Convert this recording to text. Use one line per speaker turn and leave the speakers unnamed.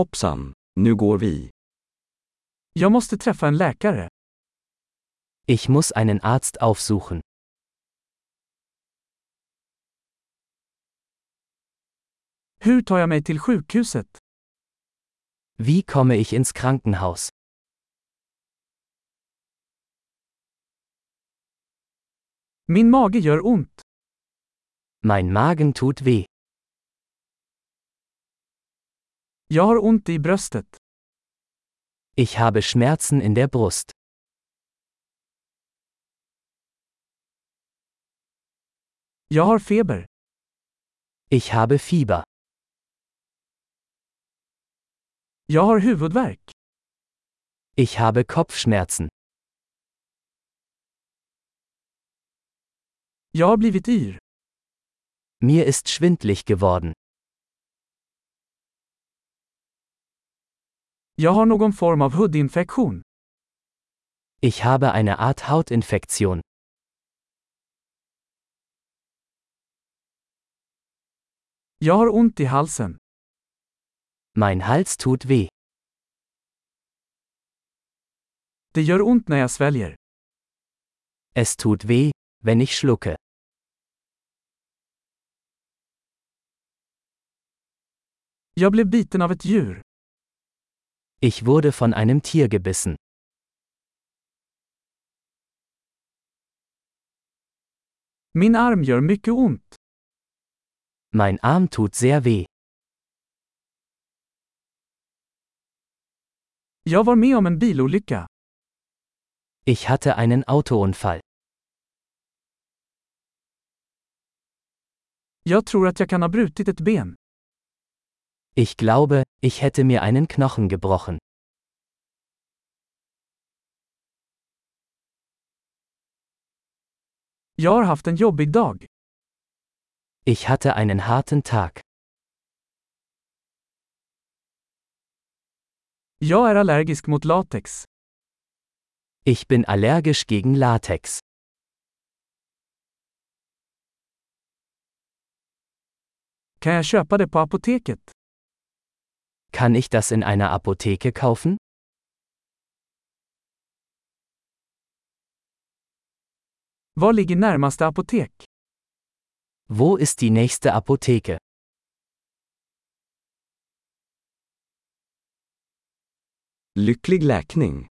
Hoppsan, nu går vi.
Jag måste träffa en läkare.
Ich muss einen Arzt aufsuchen.
Hur tar jag mig till sjukhuset?
Wie komme ich ins Krankenhaus?
Min mage gör ont.
Mein Magen tut weh.
Jag har ont i bröstet.
Ich habe Schmerzen in der Brust.
Jag har feber.
Ich habe Fieber.
Jag har huvudvärk.
Ich habe Kopfschmerzen.
Jag har blivit yr.
Mir ist schwindlig geworden.
Jag har någon form av hudinfektion.
Ich habe eine Art Hautinfektion.
Jag har ont i halsen.
Mein Hals tut weh.
Det gör ont när jag sväljer.
Es tut weh, wenn ich schlucke.
Jag blev biten av ett djur.
Ich wurde von einem Tier gebissen.
Min arm gör mycket ont.
Mein Arm tut sehr weh.
Jag var med om en bilolycka.
Ich hatte einen Autounfall.
Jag tror att jag kan ha brutit ett ben.
Ich glaube, ich hätte mir einen Knochen gebrochen.
Jag har haft en jobbig dag.
Ich hatte einen harten Tag.
Jag är allergisk mot latex.
Ich bin allergisch gegen Latex.
Kan jag köpa det på apoteket?
Kann ich das in einer Apotheke kaufen?
Var ligger närmaste apotek?
Wo ist die nächste Apotheke?
Lycklig läkning!